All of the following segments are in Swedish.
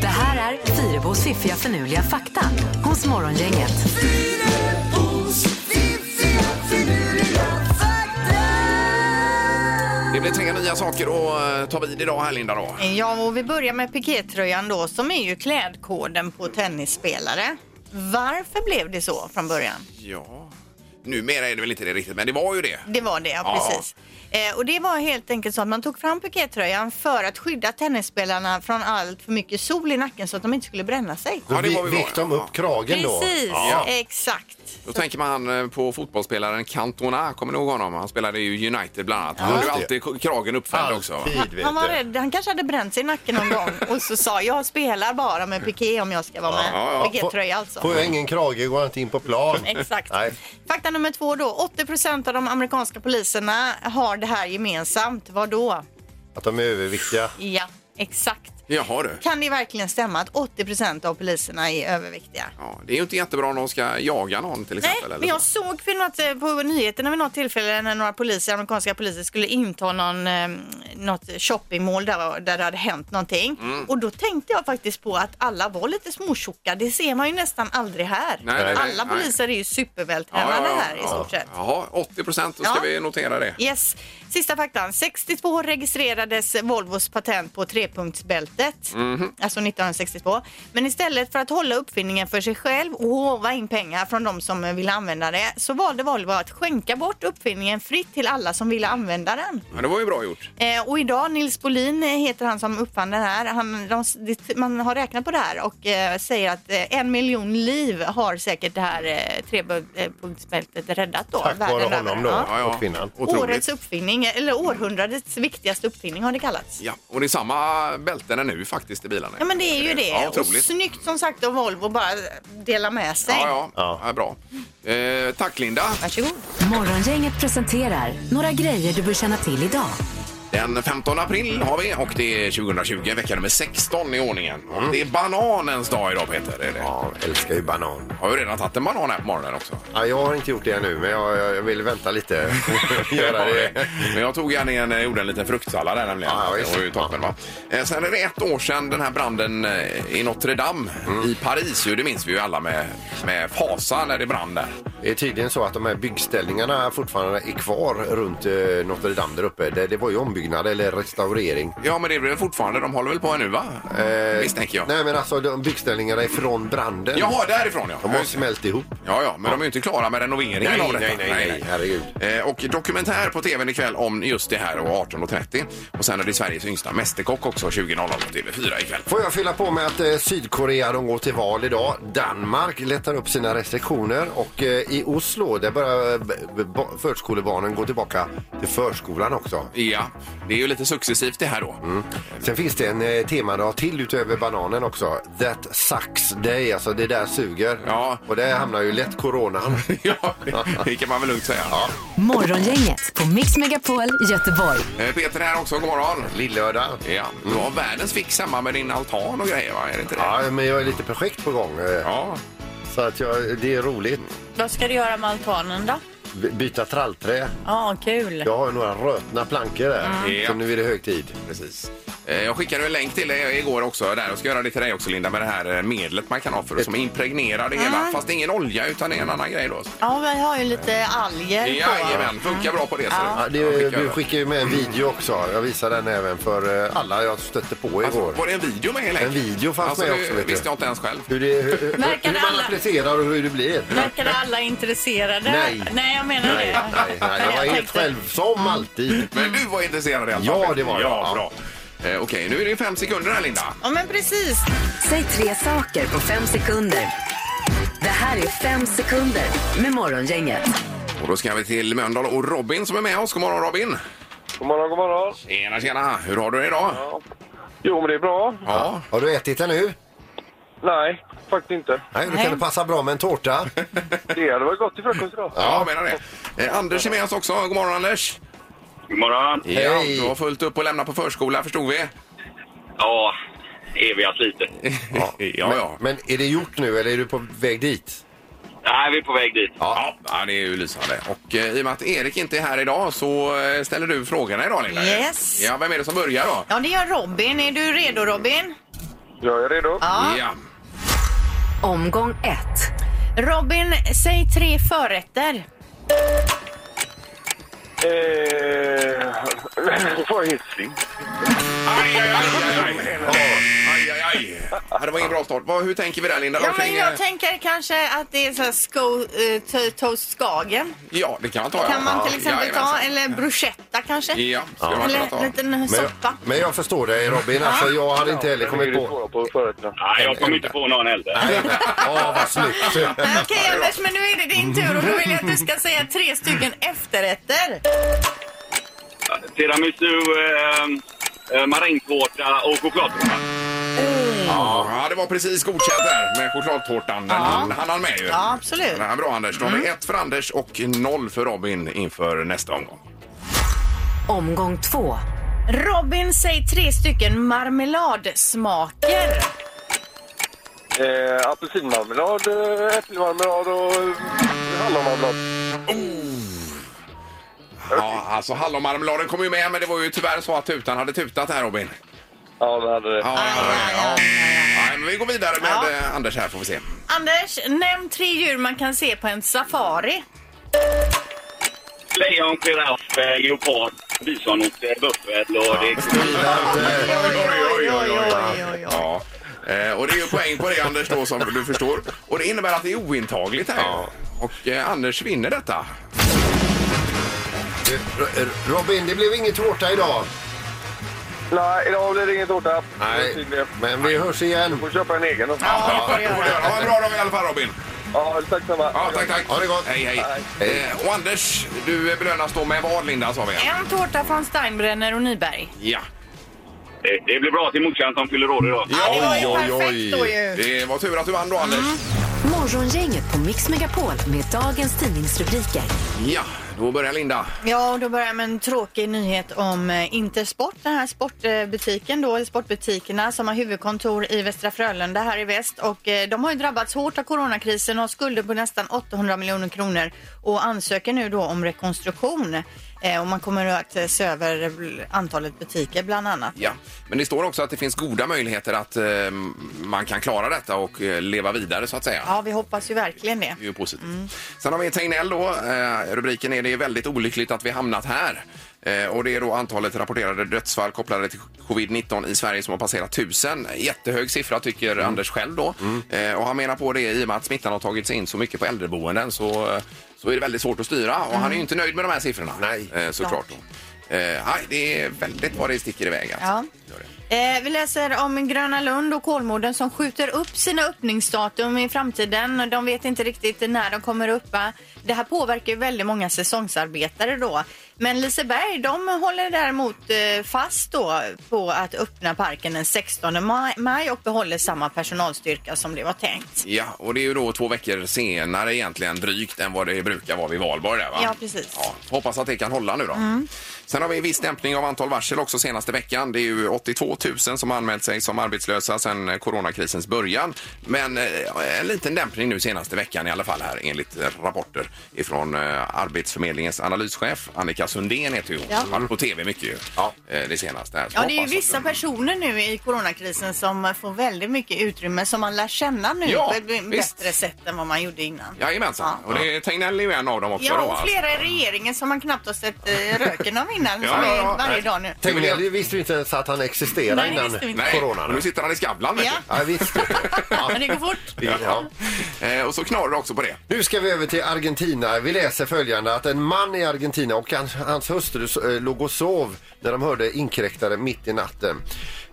Det här är Fyrebos fiffiga förnuliga fakta hos Morgongänget. Det blir tre nya saker att eh, ta vid idag här Linda då. Ja, och vi börjar med pikétröjan då, som är ju klädkoden på tennisspelare. Varför blev det så från början? Ja, numera är det väl inte det riktigt, men det var ju det. Det var det, ja, Ja. precis. Eh, och det var helt enkelt så att man tog fram pikétröjan för att skydda tennisspelarna från allt för mycket sol i nacken så att de inte skulle bränna sig. Då Ja, det vi- var vi vek var, de ja. upp kragen då. Precis, Ja. exakt. Då tänker man eh, på fotbollsspelaren Cantona, kommer ni ihåg honom? Han spelade ju United bland annat. Han hade ju Just det. alltid k- kragen uppfälld också. Alltid, vet Han var du. rädd, han kanske hade bränt sig i nacken någon gång och så sa jag spelar bara med piké om jag ska vara med. Ja, ja. Pikétröja alltså. Får jag ingen krage går jag inte in på plan. Exakt. Nej. Fakta nummer två då. 80 av de amerikanska poliserna har det här gemensamt. Vad då? Att de är överviktiga. Ja, exakt. Jaha du. Kan det verkligen stämma att 80 av poliserna är överviktiga? Ja, det är ju inte jättebra om de ska jaga någon till Nej, exempel. eller men jag så. såg på, något, eh, på nyheterna vid något tillfälle när några poliser, amerikanska poliser skulle inta någon, eh, något shoppingmål där, där det hade hänt någonting. Mm. Och då tänkte jag faktiskt på att alla var lite småtjocka. Det ser man ju nästan aldrig här. Nej, nej, nej, alla nej. poliser är ju supervältränade här i stort sett. Jaha, 80 procent, då ska Ja. vi notera det. Yes. Sista faktan. 62 registrerades Volvos patent på trepunktsbältet, Mhm. alltså 1962. Men istället för att hålla uppfinningen för sig själv och håva in pengar från de som eh, ville använda det så valde Volvo att skänka bort uppfinningen fritt till alla som ville använda den. Ja, det var ju bra gjort. Eh, och idag, Nils Bolin eh, heter han som uppfann den här. Han, de, det- man har räknat på det här och eh, säger att eh, en miljon liv har säkert det här eh, trepunktsbältet räddat då. Tack vare världen över. honom då. Ja. Ja, ja. Och kvinnan. Otroligt. Årets uppfinning, eller århundradets viktigaste uppfinning har det kallats. Ja, och det är samma bälten nu faktiskt i bilarna. Ja men det är ju det. Ja, och otroligt. snyggt som sagt av Volvo bara dela med sig. Ja, ja, Ja. ja. bra. Eh, tack Linda. Varsågod. Morgongänget presenterar några grejer du bör känna till idag. Den 15 april har vi och det är 2020, vecka nummer 16 i ordningen. Och Det är bananens dag idag Peter. Är det? Ja, älskar ju banan. Har ju redan tagit en banan här på morgonen också. Ja, jag har inte gjort det ännu, men jag, jag, jag vill vänta lite. Göra det. Men jag tog gärna en, jag gjorde en liten fruktsallad där nämligen. Ja, ja, visst. det var ju toppen, va? Eh, Sen är det ett år sedan den här branden eh, i Notre Dame Mm. i Paris. ju, Det minns vi ju alla med, med fasa när det brann där. Det är tydligen så att de här byggställningarna fortfarande är kvar runt eh, Notre Dame där uppe. Det, det var ju ombyggnad eller restaurering. Ja, men det är väl fortfarande, de håller väl på ännu va? Misstänker jag. Eh, Nej, men alltså de byggställningarna ifrån branden. Jaha, därifrån ja. De Ja, har just det. smält ihop. Ja, ja, men de är ju inte klara med renoveringen Nej, av detta. nej, nej, nej, herregud. Eh, och dokumentär på tvn ikväll om just det här och 18.30. Och sen är det Sveriges yngsta mästerkock också 20.00 på TV4 ikväll. Får jag fylla på med att eh, Sydkorea de går till val idag. Danmark lättar upp sina restriktioner och eh, i Oslo där börjar eh, b- b- ba- förskolebarnen gå tillbaka till förskolan också. Ja, Det är ju lite successivt det här då. Mm. Sen finns det en eh, temadag till utöver bananen också. That sucks day, alltså det där suger. Ja. Och där hamnar ju lätt coronan. ja, det kan man väl lugnt säga. Morgongänget på Mix Megapol i Göteborg. Eh, Peter här också, god morgon. Lillördag. Ja, du har världens fix hemma med din altan och grejer va? Är det inte det? Mm. Ja, men jag är lite projekt på gång. eh, Ja. Så att jag, det är roligt. Vad ska du göra med altanen då? B- Byta trallträ. Ja, kul. Jag har ju några rötna plankor där. Mm. Så nu är det hög tid. Precis. Eh, Jag skickade en länk till dig igår också. Där. Jag ska göra det till dig också Linda med det här eh, medlet man kan ha för att som impregnerar det Ah. hela. Fast det är ingen olja utan det är en annan grej då. Ja, vi har ju lite alger på. Jajamän, funkar bra på det. ser Ja, Jag det, skickar du över. skickar ju med en video också. Jag visar den även för eh, alla jag stötte på igår. Alltså, var det en video med i länken? En video fanns alltså, med det också, vet du. visste jag inte ens själv. Hur, det, hur, hur, Verkar hur man alla- applicerar och hur det blir. Verkar alla intresserade? Nej. Nej, jag menar Nej, det. nej, nej. Jag var Jag helt tänkte- själv, som alltid. Men du var intresserad i alla Ja, fall. det var jag. Ja, Ja. bra. Eh, Okej, nu är det fem sekunder här, Linda. Ja, men precis. Säg tre saker på fem sekunder. Det här är fem sekunder med Morgongänget. Och då ska vi till Mölndal och Robin som är med oss. God morgon, Robin! God morgon, god morgon. Tjena, tjena! Hur har du det idag? Ja. Jo, men det är bra. Har du ätit den nu? Nej, faktiskt inte. Nej, då kan det passa bra med en tårta. Det hade varit gott till frukost idag. Ja, jag menar det. Eh, Anders är med oss också. God morgon, Anders! God morgon. Ja, Hej. du har fullt upp och lämna på förskola, förstod vi. Ja, eviga sliter. Ja, ja. Men är det gjort nu eller är du på väg dit? Nej, vi är på väg dit. Ja, ja, det är ju lysande. Och eh, i och med att Erik inte är här idag så eh, ställer du frågorna idag, Linda. Yes. Ja, vem är det som börjar då? Ja, det gör Robin. Är du redo, Robin? Jag är redo. ja. Omgång ett. Robin, säg tre förrätter. Eh, får jag hissing? Aj, aj, aj, aj, aj, aj, aj. Ja, Det var ingen bra start. Vad- Hur tänker vi där, Linda? Ja, Vad men kring, eh, jag tänker kanske att det är så här sko, eh, to- toast skagen. ja, det kan man ta. ja. Kan man till Ja, exempel ta, jajamensan. eller bruschetta kanske? Ja, skulle man kunna Eller ta. en liten Men soppa. jag, men jag förstår dig Robin, alltså, jag hade inte heller kommit på... på förrätterna. Nej, jag kommer inte på någon heller. Ja, vad snyggt! Nej, Okej Anders, men nu är det din tur och då vill jag att du ska säga tre stycken efterrätter. Tiramisu, eh, eh, marängtårta och chokladtårta. Ja, det var precis godkänt där med chokladtårtan. Den hann han, han med ju. Ja, Mm. absolut. Den här bra Anders. Då har vi ett för Anders och noll för Robin inför nästa omgång. Omgång två. Robin, säg tre stycken marmeladsmaker. Eh, apelsinmarmelad, eh, äppelmarmelad och eh, hallonmarmelad. Ja, alltså hallonmarmeladen kom ju med men det var ju tyvärr så att tutan hade tutat här Robin. Ja, det hade det. Ah, Ja, ja, ja, ja. Nej, men vi går vidare med eh, Anders här får vi se. Anders, nämn tre djur man kan se på en safari. Lejon, giraff, eh, leopard, bisonoxe, eh, buffel och det oj, oj, Ja. Eh, och det är ju poäng på det Anders då som du förstår. Och det innebär att det är ointagligt här. Och eh, Anders vinner detta. Du, R- R- Robin, det blev ingen tårta idag. Nej, idag blir det ingen tårta. Nej, Tydligen. men vi hörs igen. Får köpa en egen då. Ja, det får du göra. Ha en bra dag i alla fall Robin. Ja, tack samma. Ja, tack, tack. Ha det gott. Hej, hej. Eh, och Anders, du belönas då med vad Linda sa vi? En tårta från Steinbrenner och Nyberg. Ja. Det, det blir bra till morsan som fyller år idag. Ja, det var ju Oj, oj, oj. perfekt då ju. Det var tur att du vann då Anders. Morgongänget på Mix Megapol med dagens tidningsrubriker. Ja, då börjar Linda. Ja, och då börjar jag med en tråkig nyhet om eh, Intersport, den här sportbutiken då, eller sportbutikerna som har huvudkontor i Västra Frölunda här i väst och eh, de har ju drabbats hårt av coronakrisen och har skulder på nästan 800 miljoner kronor och ansöker nu då om rekonstruktion Eh, och man kommer att eh, se över eh, antalet butiker bland annat. Ja. Men det står också att det finns goda möjligheter att eh, man kan klara detta och eh, leva vidare så att säga. Ja, vi hoppas ju verkligen det. Mm. Det är ju positivt. Sen har vi Tegnell då. Eh, rubriken är det är väldigt olyckligt att vi hamnat här. Eh, och det är då antalet rapporterade dödsfall kopplade till covid-19 i Sverige som har passerat tusen. Jättehög siffra tycker Anders själv då. Eh, och han menar på det i och med att smittan har tagit sig in så mycket på äldreboenden så, eh, så är det väldigt svårt att styra. Och han är Mm. ju inte nöjd med de här siffrorna. Nej. Eh, såklart. då. Eh, nej, det är väldigt vad det sticker iväg. Ja. Alltså. Gör det. Eh, vi läser om Gröna Lund och Kolmården som skjuter upp sina öppningsdatum i framtiden. De vet inte riktigt när de kommer upp. Va? Det här påverkar ju väldigt många säsongsarbetare då. Men Liseberg, de håller däremot eh, fast då på att öppna parken den 16 maj- maj och behåller samma personalstyrka som det var tänkt. Ja, och det är ju då två veckor senare egentligen drygt än vad det brukar vara vid valborg där va? Ja, precis. Mm. Ja, hoppas att det kan hålla nu då. Sen har vi en viss dämpning av antal varsel också senaste veckan. Det är ju 82 000 som har anmält sig som arbetslösa sedan eh, coronakrisens början. Men eh, en liten dämpning nu senaste veckan i alla fall här enligt eh, rapporter ifrån eh, Arbetsförmedlingens analyschef Annika Sundén heter ju hon. Ja. Hon har varit på tv mycket ju Ja. eh, det senaste. här. Så Ja, det är hoppas ju vissa att- personer nu i coronakrisen som får väldigt mycket utrymme som man lär känna nu Ja, på ett b- visst. bättre sätt än vad man gjorde innan. Jajamensan, och det är Tegnell är ju en av dem också Ja, då. och alltså. flera i regeringen som man knappt har sett eh, röken av innan, Ja, som ja, ja. är varje dag nu. Tegnell det visste vi inte ens att han existerade Nej, innan visste vi inte. Nej, corona. nu sitter han i Skavlan vet Ja. du. Ja, visst. Ja. Men det går fort. Ja. Eh, och så knorrar det också på det. Nu ska vi över till Argentina. Vi läser följande att en man i Argentina och hans, hans hustru eh, låg och sov när de hörde inkräktare mitt i natten.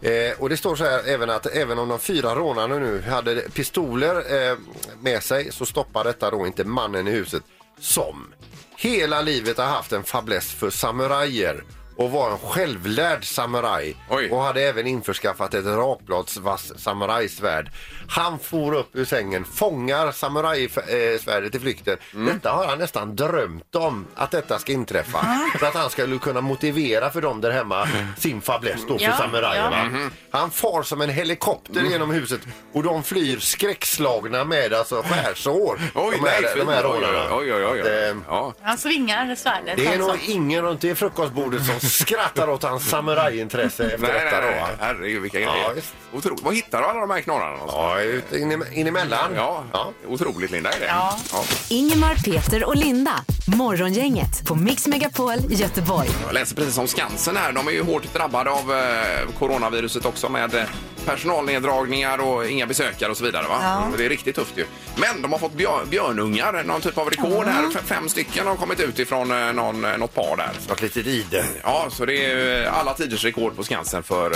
Eh, och det står så här även att även om de fyra rånarna nu hade pistoler eh, med sig så stoppar detta då inte mannen i huset som hela livet har haft en fäbless för samurajer och var en självlärd samuraj Oj. och hade även införskaffat ett rakbladsvass samurajsvärd. Han for upp ur sängen, fångar samurajsvärdet i flykten. Mm. Detta har han nästan drömt om att detta ska inträffa. Så att han skulle kunna motivera för dem där hemma sin fäbless då för Ja, samurajerna. Mm-hmm. Han far som en helikopter Mm. genom huset och de flyr skräckslagna med alltså skärsår. Oj, de här, nej, de här fy. Oj, rånarna. Oj, oj, oj. Att, oj. eh, Ja. Han svingar svärdet. Det är alltså. nog ingen runt det frukostbordet som skrattar åt hans samurajintresse efter Nej, nej, detta då. nej. va? Herregud, vilka Ja, grejer. visst. Otroligt. Vad hittar du alla de här knorrarna någonstans? Ja, ut in, in emellan. Ja, Ja. otroligt Linda är det. Ja. Ingemar, Peter och Linda. Morgongänget på Mix Megapol Göteborg. Jag läser precis om Skansen här. De är ju hårt drabbade av eh, coronaviruset också med eh, personalneddragningar och inga besökare och så vidare. Va? Ja. Mm, Det är riktigt tufft ju. Men de har fått björ- björnungar, någon typ av rekord här. F- fem stycken har kommit ut ifrån eh, någon, eh, något par där. Något litet ide. Ja, så det är eh, alla tiders rekord på Skansen för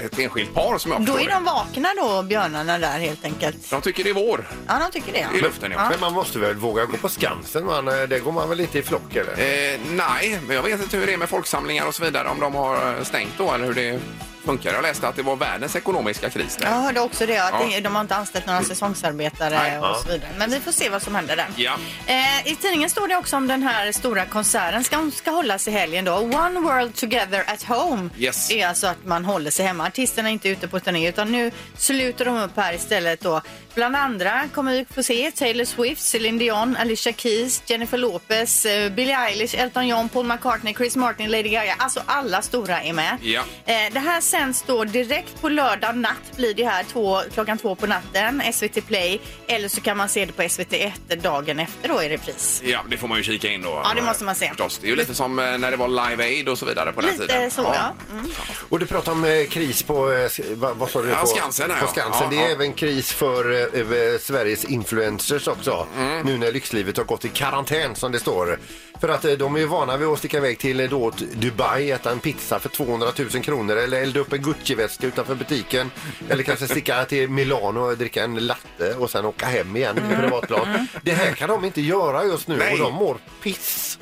eh, ett enskilt par som jag Då förstår är det. de vakna då, björnarna där helt enkelt. De tycker det är vår Ja, de tycker det. i luften. Ja. Men man måste väl våga gå på Skansen? Man, eh, det går man väl inte i flock eller? Eh, nej, men jag vet inte hur det är med folksamlingar och så vidare, om de har eh, stängt då eller hur det funkar. Jag läste att det var världens ekonomiska kris där. Jag hörde också det, att Ja. det- de har inte anställt några säsongsarbetare Nej, och så vidare. Men vi får se vad som händer där. Ja. Eh, I tidningen står det också om den här stora konserten ska, ska hållas i helgen då. One World Together at Home. Yes. Det är alltså att man håller sig hemma. Artisterna är inte ute på turné utan nu sluter de upp här istället då. Bland andra kommer vi få se Taylor Swift, Celine Dion, Alicia Keys, Jennifer Lopez, eh, Billie Eilish, Elton John, Paul McCartney, Chris Martin, Lady Gaga. Alltså alla stora är med. Ja. Eh, Det här sänds då direkt på lördag natt blir det här två, klockan två på natten, SVT Play. Eller så kan man se det på SVT1 dagen efter då i repris. ja, det får man ju kika in då. Ja, det måste man se. Förstås. Det är ju lite som eh, när det var Live Aid och så vidare på den tiden. Lite så ja. Mm. Och du pratar om eh, kris på, eh, sk- va- vad sa du? Ja, på, Skansen här, på ja. Skansen. Ja, det är ja. även kris för eh, över Sveriges influencers också. Mm. Nu när lyxlivet har gått i karantän som det står. För att eh, de är ju vana vid att sticka iväg till eh, då, t- Dubai, äta en pizza för 200 000 kronor eller elda upp en Gucci-väska utanför butiken. eller kanske sticka till Milano och dricka en latte och sen åka hem igen med privatplan. Det här kan de inte göra just nu Mm. Nej. och de mår piss.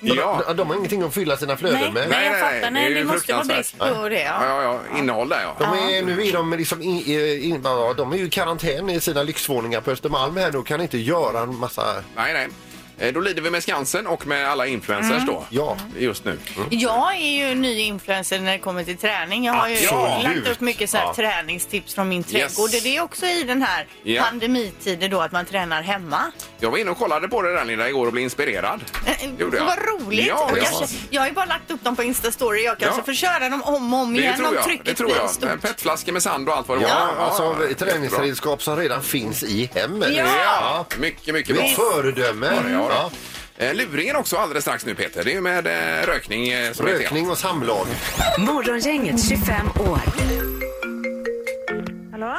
De, Ja. de, de har ingenting att fylla sina Mm. flöden Nej, med. nej, jag fattar. är Nej, ju det måste vara fruktansvärt. brist på det. Ja, Ja. ja, ja. Innehåll där ja. De är, nu är de liksom in, in, ja, de är ju i karantän i sina lyxvåningar på Östermalm här nu och kan inte göra en massa... Nej, nej. Eh, Då lider vi med Skansen och med alla influencers Mm. då. Ja. Just nu. Jag är ju ny influencer när det kommer till träning. Jag har ju Absolut. lagt upp mycket så här Ja. träningstips från min trädgård. Yes. Det är också i den här Ja. pandemitiden då att man tränar hemma. Eh, Jag var inne och kollade på det där Linda igår och blev inspirerad. Gjorde jag. Vad roligt! Ja, och ja. kanske, jag har ju bara lagt upp dem på Insta-story. Jag kanske Ja. får köra dem om och om Det igen tror om jag. trycket Det tror blir jag. stort. Med Petflaskor med sand och allt vad det Ja, var. alltså jättebra. träningsredskap som redan finns i hemmet. Ja, mycket, mycket bra. Ett föredöme. Ja, det har det. Ja. Eh, Luringen också alldeles strax nu Peter. Det är ju med eh, rökning eh, som är temat. Rökning och samlag. Morgongänget 25 år. Hallå?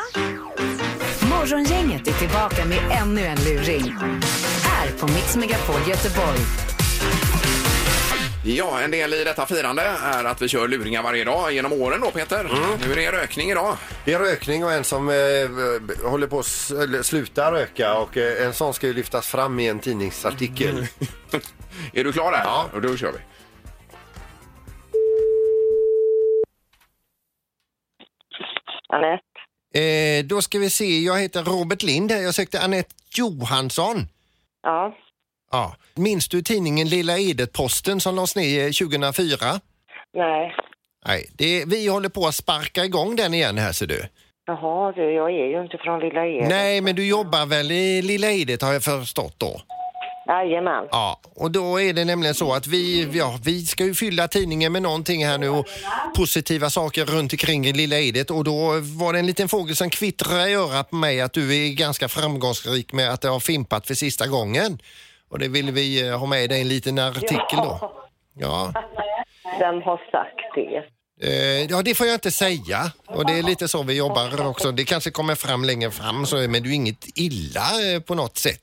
Morgongänget är tillbaka med ännu en luring. Här på Mix Megapol Göteborg. Ja, en del i detta firande är att vi kör luringar varje dag genom åren då Peter. Mm. Nu är det rökning idag. Det är rökning och en som eh, håller på att s- eller sluta röka och eh, en sån ska ju lyftas fram i en tidningsartikel. Är du klar där? Ja. Och då kör vi. Anette. Eh, då ska vi se, jag heter Robert Lind här. Jag sökte Anette Johansson. Ja. Ja. Minns du tidningen Lilla Edet-Posten som lades ner eh, 2004? Nej. Nej, det, vi håller på att sparka igång den igen här ser du. Jaha, du, jag är ju inte från Lilla Edet. Nej, men du jobbar väl i Lilla Edet har jag förstått då? Jajamän. Ja, och då är det nämligen så att vi, ja, vi ska ju fylla tidningen med någonting här nu och positiva saker runt omkring i Lilla Edet och då var det en liten fågel som kvittrade i örat på mig att du är ganska framgångsrik med att du har fimpat för sista gången. Och det ville vi eh, ha med i dig en liten artikel då. Ja. Vem har sagt det? Eh, ja, det får jag inte säga. Och det är lite så vi jobbar också. Det kanske kommer fram längre fram, så, men det är ju inget illa eh, på något sätt.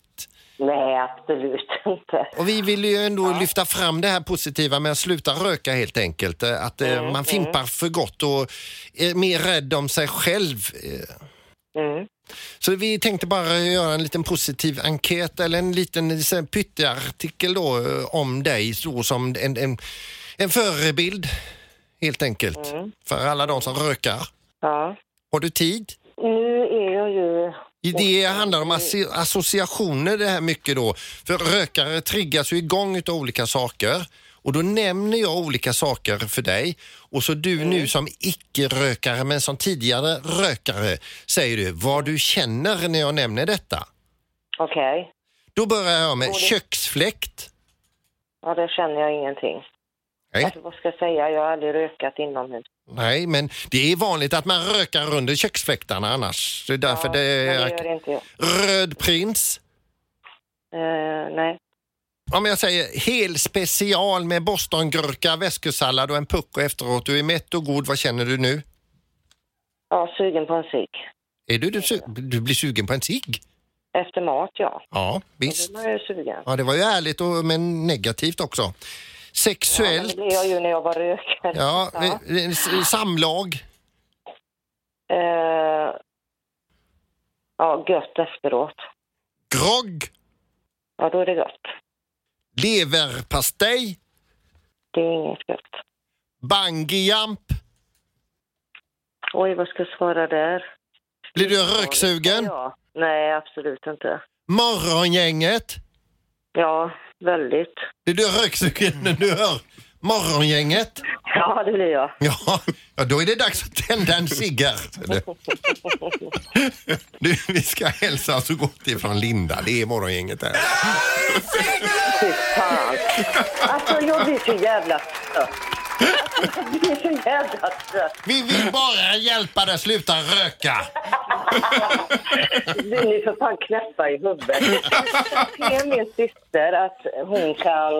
Nej, absolut inte. Och vi vill ju ändå lyfta fram det här positiva med att sluta röka helt enkelt. Eh, Att eh, man fimpar för gott och är mer rädd om sig själv. eh. Mm. Så vi tänkte bara göra en liten positiv enkät eller en liten eh, så här, pytteartikel då eh, om dig så som en, en, en förebild helt enkelt för alla de som rökar. Ja. Har du tid? Nu är jag ju... I Det handlar om assi- associationer det här mycket då. För rökare triggas ju igång utav olika saker. Och då nämner jag olika saker för dig. Och så du Mm. nu som icke-rökare men som tidigare rökare säger du vad du känner när jag nämner detta. Okej. Då börjar jag med köksfläkt. Ja, det känner jag ingenting. Nej, Alltså, vad ska jag säga? Jag har aldrig rökat inomhus. nej, men det är vanligt att man rökar under köksfläktarna annars. Det är därför det Men det är... gör inte jag. Röd prins. Eh, nej. Om jag säger hel special med bostongurka, väskosallad och en pucko efteråt. Du är mätt och god. Vad känner du nu? Ja, sugen på en cig. Är du, du, su- du blir sugen på en cigg? Efter mat, ja. Ja, visst. Då är jag ju sugen. Ja, det var ju ärligt och, men negativt också. Men det Sexuellt. blev jag ju när jag var rökare. Ja, eh, eh, s- samlag. Eh, ja, gött efteråt. Grogg. Ja, då är det gött. Leverpastej. Det är inget gött. Bungyjump. Oj, vad ska jag svara där? Blir du röksugen? Ja. Nej, absolut inte. Morgongänget. Ja, väldigt. Blir du röksugen när du hör morgongänget? Ja, det blir jag. Ja, ja, då är det dags att tända en cigarr. Du, vi ska hälsa så gott ifrån Linda. Det är morgongänget här. Fy fan. Alltså, jag blir så jävla trött. Alltså, jag blir så jävla trött. Vi vill bara hjälpa dig sluta röka. Du, ni för fan knäppa i huvudet. Se min syster att hon kan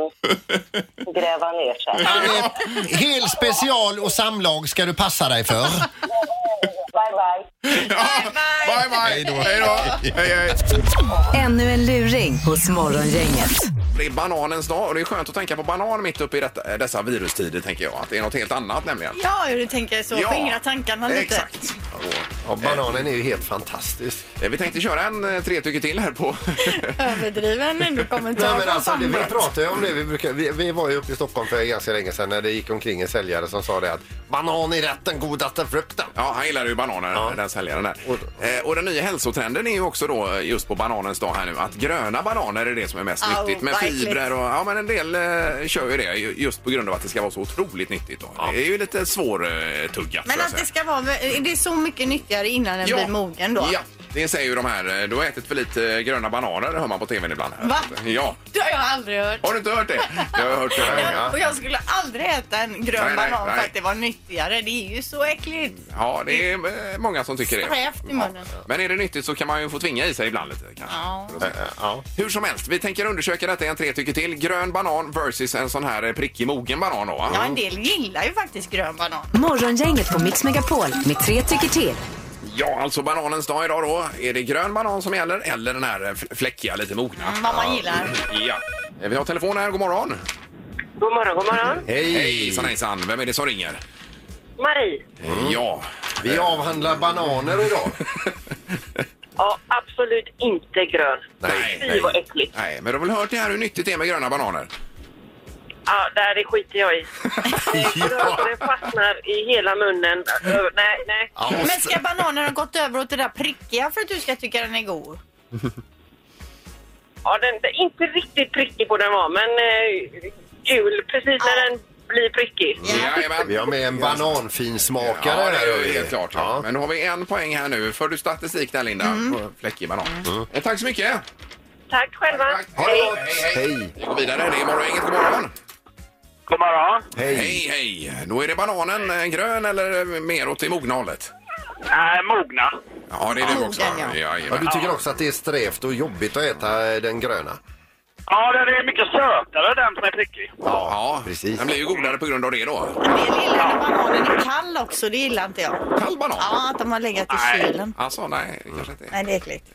gräva ner sig. Anette, Hel special och samlag ska du passa dig för. Bye, bye. Ja, bye, bye! Hej då! Hej, hej. Ännu en luring hos Morgongänget. Det är bananens dag och det är skönt att tänka på banan mitt uppe i detta, dessa virustider tänker jag. Att det är något helt annat nämligen. Ja, hur du tänker så. Skingra tankarna lite. Exakt. Och, Ja, bananen är ju helt fantastisk. eh, vi tänkte köra en eh, tre tycker till här på... Överdriven ändå Nej, kommentar men från alltså, det, vi samhället. pratade ju om det. Vi, brukar, vi, vi var ju uppe i Stockholm för ganska länge sedan när det gick omkring en säljare som sa det att banan är rätt den godaste frukten. Ja, han gillade ju bananer, den säljaren där. Och- eh, och den nya hälsotrenden är ju också då eh, just på bananens dag här nu att gröna bananer är det som är mest Au, nyttigt med vad äckligt. fibrer och ja, men en del eh, kör ju det ju- just på grund av att det ska vara så otroligt nyttigt. Då. Det är ju lite svårtuggat. Men att det ska vara, det är så mycket nyttigare innan den blir mogen då. Ja, det säger ju de här. eh, Du har ätit för lite eh, gröna bananer, hör man på tvn ibland. Här. Va? Ja. Det har jag aldrig hört. Har du inte hört det? Jag har hört det. Ja, Ja, Och jag skulle aldrig äta en grön Nej, nej, banan nej. för att det var nyttigare. Det är ju så äckligt. ja det är eh, många som tycker det. Krävt i munnen. Men är det nyttigt så kan man ju få tvinga i sig ibland lite kanske. Ja. För att säga. Ja. Hur som helst, vi tänker undersöka detta i en tre tycker till. Grön banan versus en sån här eh, prickig mogen banan då. va? Ja, en del gillar ju faktiskt grön banan. Morgongänget på Mix Megapol med tre tycker till. Ja, alltså bananens dag idag då. Är det grön banan som gäller eller den här eh, fl- fläckiga, lite mogna? Mm, Vad man gillar. Ah, Ja. Eh, Vi har telefon här, god morgon. God morgon, god morgon. Hej! Hejsan hejsan, vem är det som ringer? Marie. Mm. Ja. Vi avhandlar bananer idag. Ja, absolut inte grön. Nej, Fy vad äckligt. Nej, men du har väl hört det här hur nyttigt det är med gröna bananer? Ja, där det skiter jag i. Ja. Så det fastnar i hela munnen. Ö, Nej, nej. Ja, och Men ska bananen ha gått över åt det där prickiga för att du ska tycka den är god? Ja, den, den, inte riktigt prickig på den var, men eh, gul precis när den blir prickig. Jajamän. Vi har med en bananfinsmakare Ja, det här. är ju helt klart. Ja. Men då har vi en poäng här nu. För du statistik där, Linda? Mm. På fläckig banan. Mm. Eh, Tack så mycket! Tack själva. Ha det gott! Hej, hej. Hej! Vi går vidare. Det är morgongänget. God morgon! God morgon. Hej! Hej, hej! Då är det bananen eh, grön eller mer åt det mogna hållet? Nej, mogna. Ja, det är du också. Mogen, ja. Ja, du Jajamän. tycker också att det är strävt och jobbigt att äta eh, den gröna? Ja, den är mycket sötare den som är prickig. Ja, precis. Den blir ju godare på grund av det då. Men Det gillar jag när bananen är kall också, det gillar inte jag. Kall banan? Ja, att de har legat i Nej. kylen. Alltså, nej, det kanske inte. är. Nej, det är äckligt.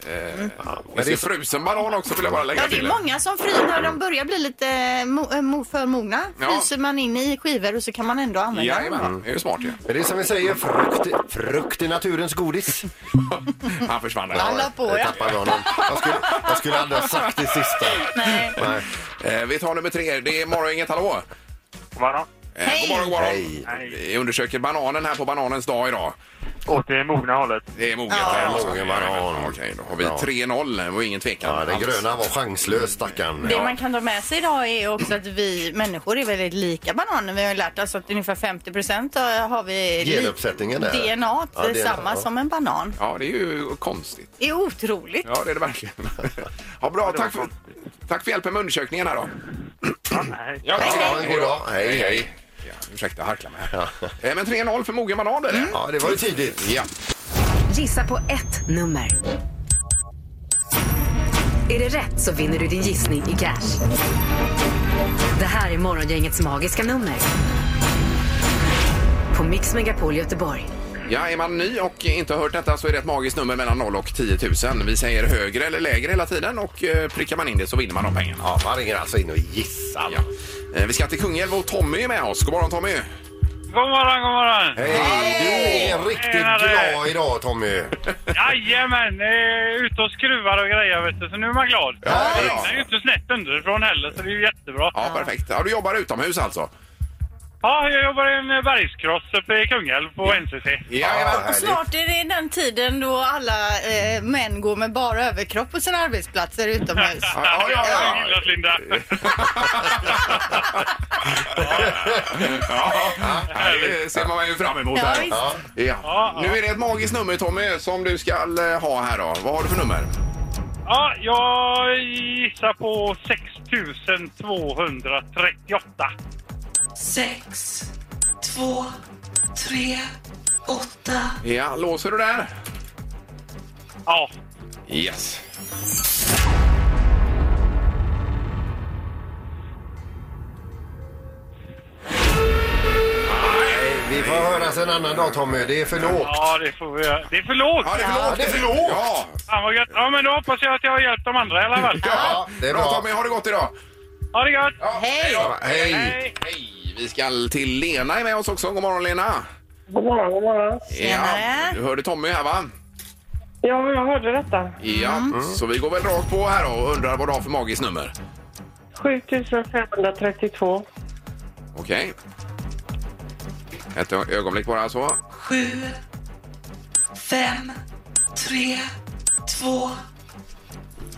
Men det är frusen banan också vill jag bara lägga Ja, det till. är många som fryser när de börjar bli lite eh, mo- eh, mo- för mogna. Ja. Fryser man in i skivor och så kan man ändå använda dem. Jajamän, det är ju smart ju. Men det är som vi säger, frukt, frukt är naturens godis. Han försvann där. Alla på, Jag ja. tappade honom. Jag skulle, jag skulle aldrig ha sagt det sista. Nej. Nej. Eh, vi tar nummer tre. Det är morgongänget, hallå! God morgon. Eh, Hej. God morgon, god morgon. Hej. Vi undersöker bananen här på bananens dag idag. Åt det mogna hållet. Det är moget. Ja. här, alltså. Mogen banan. Okej, då har vi Ja. 3-0. Det var ingen tvekan. Ja, den alls. gröna var chanslös, stackarn. Det man kan ta med sig idag är också att vi människor är väldigt lika bananen. Vi har ju lärt oss att ungefär 50 procent har vi li- Genuppsättningen där. DNA, Ja, det är DNA, samma ja. som en banan. Ja, det är ju konstigt. Det är otroligt. Ja, det är det verkligen. Ja, bra. Tack för, tack för hjälpen med undersökningen här då. Ja, Ja, en god dag. Hej, hej. Ja, ursäkta, jag harklar mig. här. Eh, Men 3-0 för mogen banan är det. Ja, det var ju tidigt. Ja. Gissa på ett nummer. Är det rätt så vinner du din gissning i cash. Det här är Morgongängets magiska nummer. På Mix Megapol Göteborg. ja, är man ny och inte har hört detta så är det ett magiskt nummer mellan 0 och 10 000. Vi säger högre eller lägre hela tiden och eh, prickar man in det så vinner man de pengarna. Ja, man ringer alltså in och gissar. Ja. Eh, Vi ska till Kungälv och Tommy är med oss. God morgon Tommy! God morgon, god morgon. Hej! Du är riktigt Tjenare. glad idag, Tommy. Jajamän, eh, ute och skruvar och grejer vet du, så nu är man glad. Ja, det ja. regnar ju inte snett underifrån heller så det är ju jättebra. Ja, perfekt. Ja, du jobbar utomhus alltså? Ja, jag jobbar i en eh, bergskross uppe i Kungälv på NCC. Ja, härligt. Snart är det den tiden då alla eh, män går med bara överkropp på sina arbetsplatser utomhus. ja, ja, ja. Jag gillar Linda. Ja, det ser man ju fram emot. Ja, här. visst. Ja. Ja. Nu är det ett magiskt nummer, Tommy, som du ska eh, ha här. Då. Vad har du för nummer? Ja, jag gissar på 6238. Sex, två, tre, åtta. Ja, låser du där? Ja. Yes. Vi får höras en annan dag, Tommy. Det är för lågt. Ja, det får vi göra. Det är för lågt! Ja, det är för Ja, lågt. det är för lågt. Ja, Fan vad gött. Ja, men då hoppas jag att jag har hjälpt de andra i alla fall. Ja, det är bra. bra. Tommy, ha det gott idag. Ha det gött! Ja, Hej. då. Hej! Hej! Vi ska till Lena är med oss också. God morgon Lena! God morgon, god morgon. Ja, Tjenare. du hörde Tommy här va? Ja, jag hörde detta. Ja, Mm. så vi går väl rakt på här då och undrar vad du har för magiskt nummer. 7532. Okej. Ett ö- ögonblick bara så. Sju, fem, tre, två.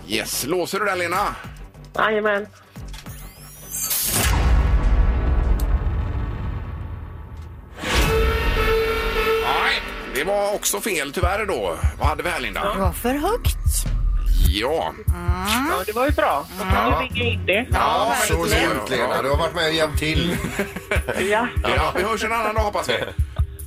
Yes, låser du den Lena? Jajamän. Nej, det var också fel tyvärr då. Vad hade vi här Linda? Det var för högt. Ja. Ja, det var ju bra. Då kan Ja. vi bygga in det. Ja, så verkligen. lugnt, Lena. Du har varit med och hjälpt till. Ja. ja, vi hörs en annan dag hoppas vi.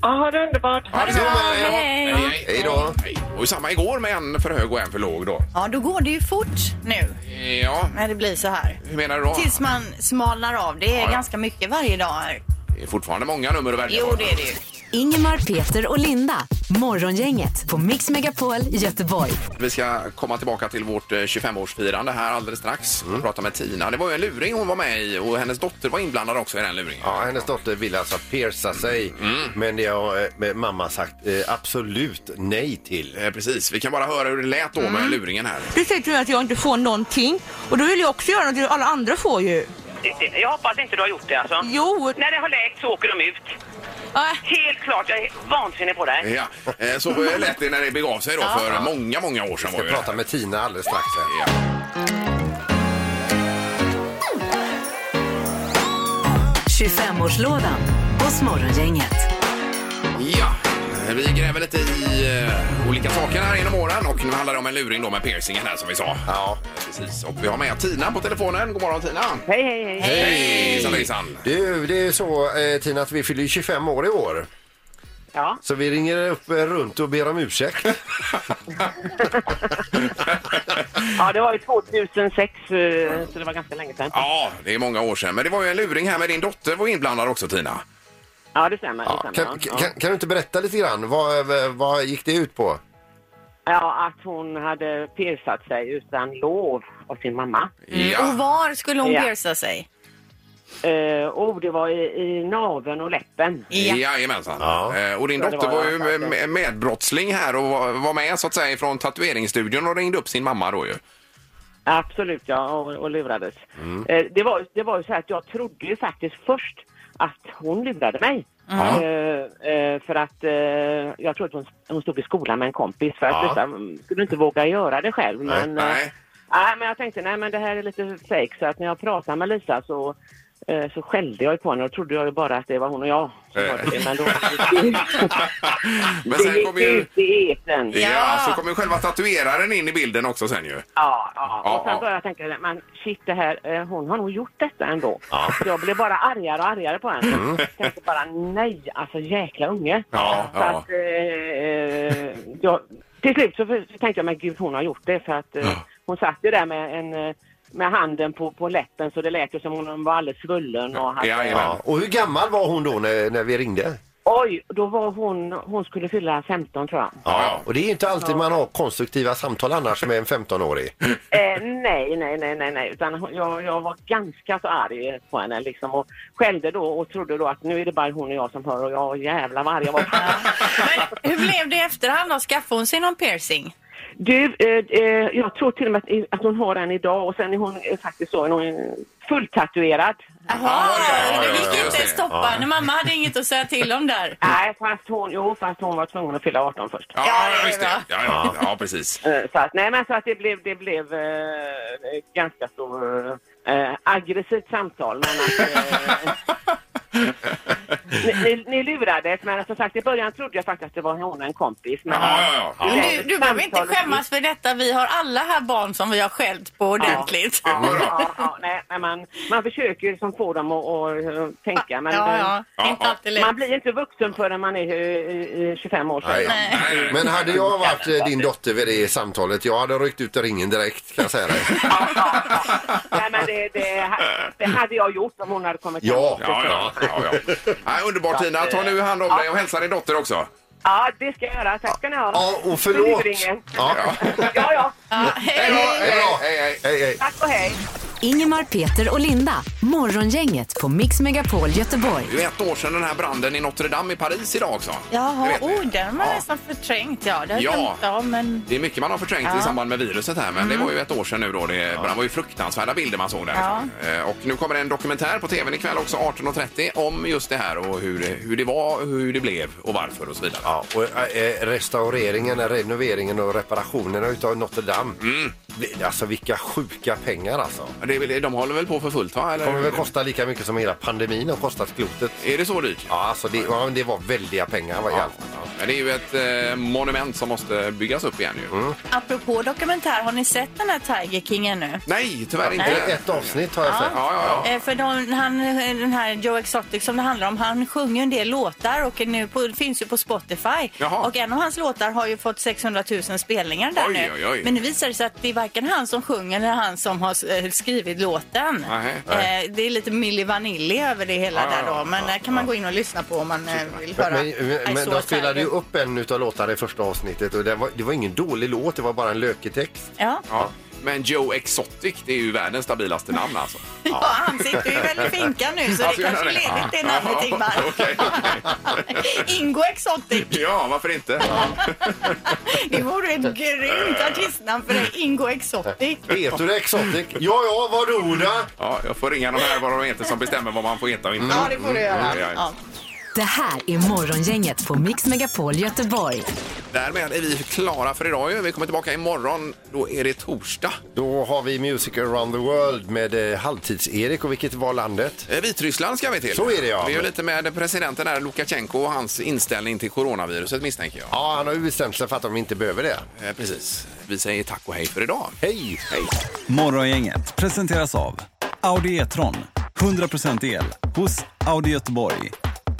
Ja, ha det underbart. Ha det så bra, hej då. Hej. Hej. Hej då. Hej. Och samma igår med en för hög och en för låg då. Ja, då går det ju fort nu Ja, när det blir så här. hur menar du då? Tills man smalnar av. Det är Ja, ja. ganska mycket varje dag. här. Det är fortfarande många nummer att välja Jo, på. det är det ju. Ingemar, Peter och Linda. Morgongänget på Mix Megapol Göteborg. Vi ska komma tillbaka till vårt eh, 25-årsfirande här alldeles strax. och Prata med Tina. Det var ju en luring hon var med i och hennes dotter var inblandad också i den luringen. Ja, hennes dotter vill alltså pierca sig, men det har eh, med mamma sagt eh, absolut nej till. Eh, Precis, vi kan bara höra hur det lät då med luringen här. Du säger till mig att jag inte får någonting och då vill jag också göra någonting alla andra får ju. riktigt det. Jag hoppas inte du har gjort det alltså. Jo. När det har läkt så åker de ut. Helt klart, jag är vansinnig på dig. Ja, eh, så var jag lät det när det begav sig då Ja. för många, många år sedan. Vi ska prata med Tina alldeles strax. Ja. det. 25-årslådan hos Morgongänget. Ja, eh, vi gräver lite i eh, olika saker här genom åren och nu handlar det om en luring då med piercingen här som vi sa. Ja, precis. Och vi har med Tina på telefonen. God morgon Tina! Hej, hej, hej. Hejsan hejsan! Du, det är så eh, Tina att vi fyller ju 25 år i år. Ja. Så vi ringer upp eh, runt och ber om ursäkt. Ja, det var ju 2006, eh, så det var ganska länge sedan. Ja, det är många år sedan. Men det var ju en luring här med din dotter var inblandad också Tina. Ja, det stämmer. det stämmer Kan, ja. kan, kan du inte berätta lite grann? Vad, eh, vad gick det ut på? Ja, att hon hade piercat sig utan lov av sin mamma. Mm, Och var skulle hon Ja. pierca sig? Eh, oh, det var i, i naveln och läppen. Ja. Jajamensan. Eh, Och din Ja, det dotter var var jag, ju faktiskt. med- medbrottsling här och var- var med så att säga från tatueringsstudion och ringde upp sin mamma då ju. Absolut, ja, och, och lurades. Mm. Eh, det, var, det var ju så här att jag trodde ju faktiskt först att hon lurade mig. Ja. Eh, eh, för att eh, jag tror att hon, hon stod i skolan med en kompis för att Ja. detta, mm, skulle inte våga göra det själv. Nej, Men, eh, Nej. nej, men jag tänkte nej men det här är lite fake så att när jag pratade med Lisa så eh, så skällde jag ju på henne och trodde jag ju bara att det var hon och jag. som var det. Men då Men det sen gick kom det ju... ut i etern. Ja, så kom ju själva tatueraren in i bilden också sen ju. Ja, ja. Ja, och sen ja. började jag tänka, men shit det här, eh, hon har nog gjort detta ändå. Så Jag blev bara argare och argare på henne. Tänkte bara nej, alltså jäkla unge. Mm. Ja, så ja. att, eh, eh, jag, till slut så, så tänkte jag, men gud hon har gjort det för att eh, hon satt ju där med en eh, med handen på, på läppen så det lät ju som hon var alldeles svullen och hade, Ja, ja. Ja. Och hur gammal var hon då när, när vi ringde? Oj, då var hon, hon skulle fylla 15 tror jag. Ja, Och det är inte alltid man har konstruktiva samtal annars med en 15-årig. Eh, nej, nej, nej, nej, nej. Utan hon- jag, jag var ganska så arg på henne liksom och skällde då och trodde då att nu är det bara hon och jag som hör och jag jävlar vad arg jag var. Men hur blev det i efterhand då? Skaffade hon sig någon piercing? du, eh, eh, jag tror till och med att, att hon har en idag och sen är hon eh, faktiskt så, hon är fulltatuerad. Jaha, ja, ja, det ja, gick just inte det. att stoppa henne. Mamma hade inget att säga till om där. Mm. Nej, fast hon, jo, fast hon var tvungen att fylla 18 först. ja, Ja, ja det visst är det. Ja, ja, ja, precis. Eh, Så att, nej men så att det blev, det blev eh, ganska så eh, aggressivt samtal. Men att, eh, ni, ni, ni lurades men som sagt i början trodde jag faktiskt att det var hon och en kompis. Men, Ja, ja, ja. Det- Du, du behöver inte samtalet- skämmas för detta. Vi har alla här barn som vi har skällt på ordentligt. Ja, ja, ja, nej, men man, man försöker ju som få dem att, att eh, tänka men ja, eh, ja. Ja, inte ja. alltid lätt. man blir inte vuxen förrän man är eh, eh, 25 år. Nej. sedan. Men hade jag varit eh, din dotter vid det samtalet, jag hade ryckt ut ringen direkt kan jag säga dig. Ja, ja, ja. Nej, men det, det, det hade jag gjort om hon hade kommit Ja. hem. Ja, ja, ja, ja. Nej, underbart Tina. Ta nu hand om dig och hälsa din dotter också. Ja, det ska jag göra. Tack ska ni ha. Ja, och förlåt. För luringen. Ja. Ja, ja. Ja, hej. Hej, hej, hej, hej. Tack och hej. Ingemar, Peter och Linda. Morgongänget på Mix Megapol Göteborg. Det är ju ett år sedan den här branden i Notre Dame i Paris idag också. Det Jaha, vet ni. oh, den var Ja. nästan förträngt. Ja, det har Ja. jag glömt av. Men... Det är mycket man har förträngt i samband med viruset här men det var ju ett år sedan nu då. Det, det var ju fruktansvärda bilder man såg där. Eh, Och nu kommer en dokumentär på tvn ikväll också 18.30 om just det här och hur det, hur det var, hur det blev och varför och så vidare. Ja, och eh, restaureringen, eh, renoveringen och reparationerna utav Notre Dame. Vi- Alltså vilka sjuka pengar alltså. Men Det, är väl- de håller väl på för fullt va? Eller? Det kommer väl kosta lika mycket som hela pandemin har kostat klotet. Är det så dyrt? Ja, alltså det, ja, men det var väldiga pengar. Var Ja. Men det är ju ett eh, monument som måste byggas upp igen ju. Apropå dokumentär, har ni sett den här Tiger King ännu? Nej, tyvärr inte. Det är ett avsnitt har jag sett. Ja, ja, ja. Eh, För de, han, den här Joe Exotic som det handlar om, han sjunger ju en del låtar och är nu på, finns ju på Spotify. Jaha. Och en av hans låtar har ju fått 600 000 spelningar där Oj, nu. oj, oj. Men nu visar det sig att det är varken han som sjunger eller han som har eh, skrivit låten. Nej, Eh, Det är lite Milli Vanilli över det hela Ja, ja, där då. ja, Men där kan man gå in och lyssna på om man eh, vill höra. Men, men, I men saw de spelade ju Tiger. upp en utav låtarna i första avsnittet och det var, det var ingen dålig låt, det var bara en lökig text. Ja. Ja. Men Joe Exotic, det är ju världens stabilaste namn alltså. Ja, han sitter ju väl i finkan nu så Ja, det ska jag kanske göra det? leder till Ja. namnet Ingmar. Okej, Ingo Exotic. Ja, varför inte? Det vore ett grymt artistnamn för dig, Ingo Exotic. Heter du Exotic? Ja, ja, varoda! Ja, jag får ringa de här vad de heter som bestämmer vad man får heta och inte. Mm, Ja, det får du göra. Ja, ja. Ja. Det här är Morgongänget på Mix Megapol Göteborg. Därmed är vi klara för idag. ju. Vi kommer tillbaka imorgon. Då är det torsdag. Då har vi Music around the world med eh, Halvtids-Erik och vilket var landet? Eh, Vitryssland ska vi till. Så är det, ja. Vi är lite med presidenten där, Lukasjenko och hans inställning till coronaviruset misstänker jag. Ja, han har ju bestämt sig för att de inte behöver det. Eh, Precis. Vi säger tack och hej för idag. Hej! Hej. Morgongänget presenteras av Audi E-tron. 100% el hos Audi Göteborg.